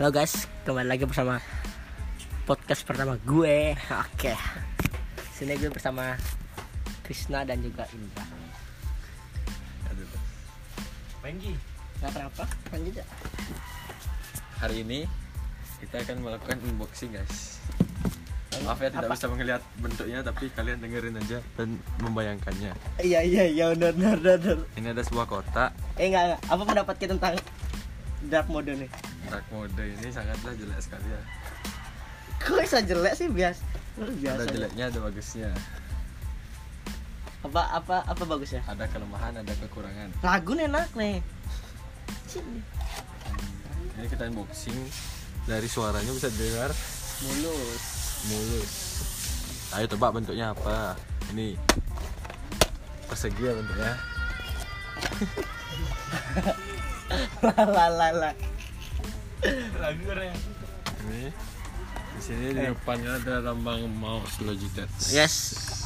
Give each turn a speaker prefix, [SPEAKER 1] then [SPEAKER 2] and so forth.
[SPEAKER 1] Halo guys, kembali lagi bersama podcast pertama gue. Oke. Sini gue bersama Krishna dan juga Indra.
[SPEAKER 2] Pengki,
[SPEAKER 1] Gak kenapa? Lanjut ya.
[SPEAKER 3] hari ini kita akan melakukan unboxing guys maaf ya tidak
[SPEAKER 1] Apa?
[SPEAKER 3] bisa melihat bentuknya tapi kalian dengerin aja dan membayangkannya
[SPEAKER 1] Iya iya iya benar benar benar, benar.
[SPEAKER 3] ini ada sebuah kotak
[SPEAKER 1] Eh enggak, enggak. Apa pendapat kita tentang dark mode nih?
[SPEAKER 3] dark mode ini sangatlah jelek sekali ya
[SPEAKER 1] Kok bisa jelek sih bias? Lu
[SPEAKER 3] ada
[SPEAKER 1] biasa. aja.
[SPEAKER 3] jeleknya ada bagusnya
[SPEAKER 1] Apa apa apa bagusnya?
[SPEAKER 3] ada kelemahan ada kekurangan
[SPEAKER 1] Lagu nih enak nih. Sini.
[SPEAKER 3] ini kita unboxing dari suaranya bisa dengar
[SPEAKER 1] Mulus.
[SPEAKER 3] mulus ayo tebak bentuknya apa ini persegi ya bentuknya
[SPEAKER 1] La la la la.
[SPEAKER 2] lagu keren.
[SPEAKER 3] ini di sini di depannya ada lambang mouse Logitech
[SPEAKER 1] Yes.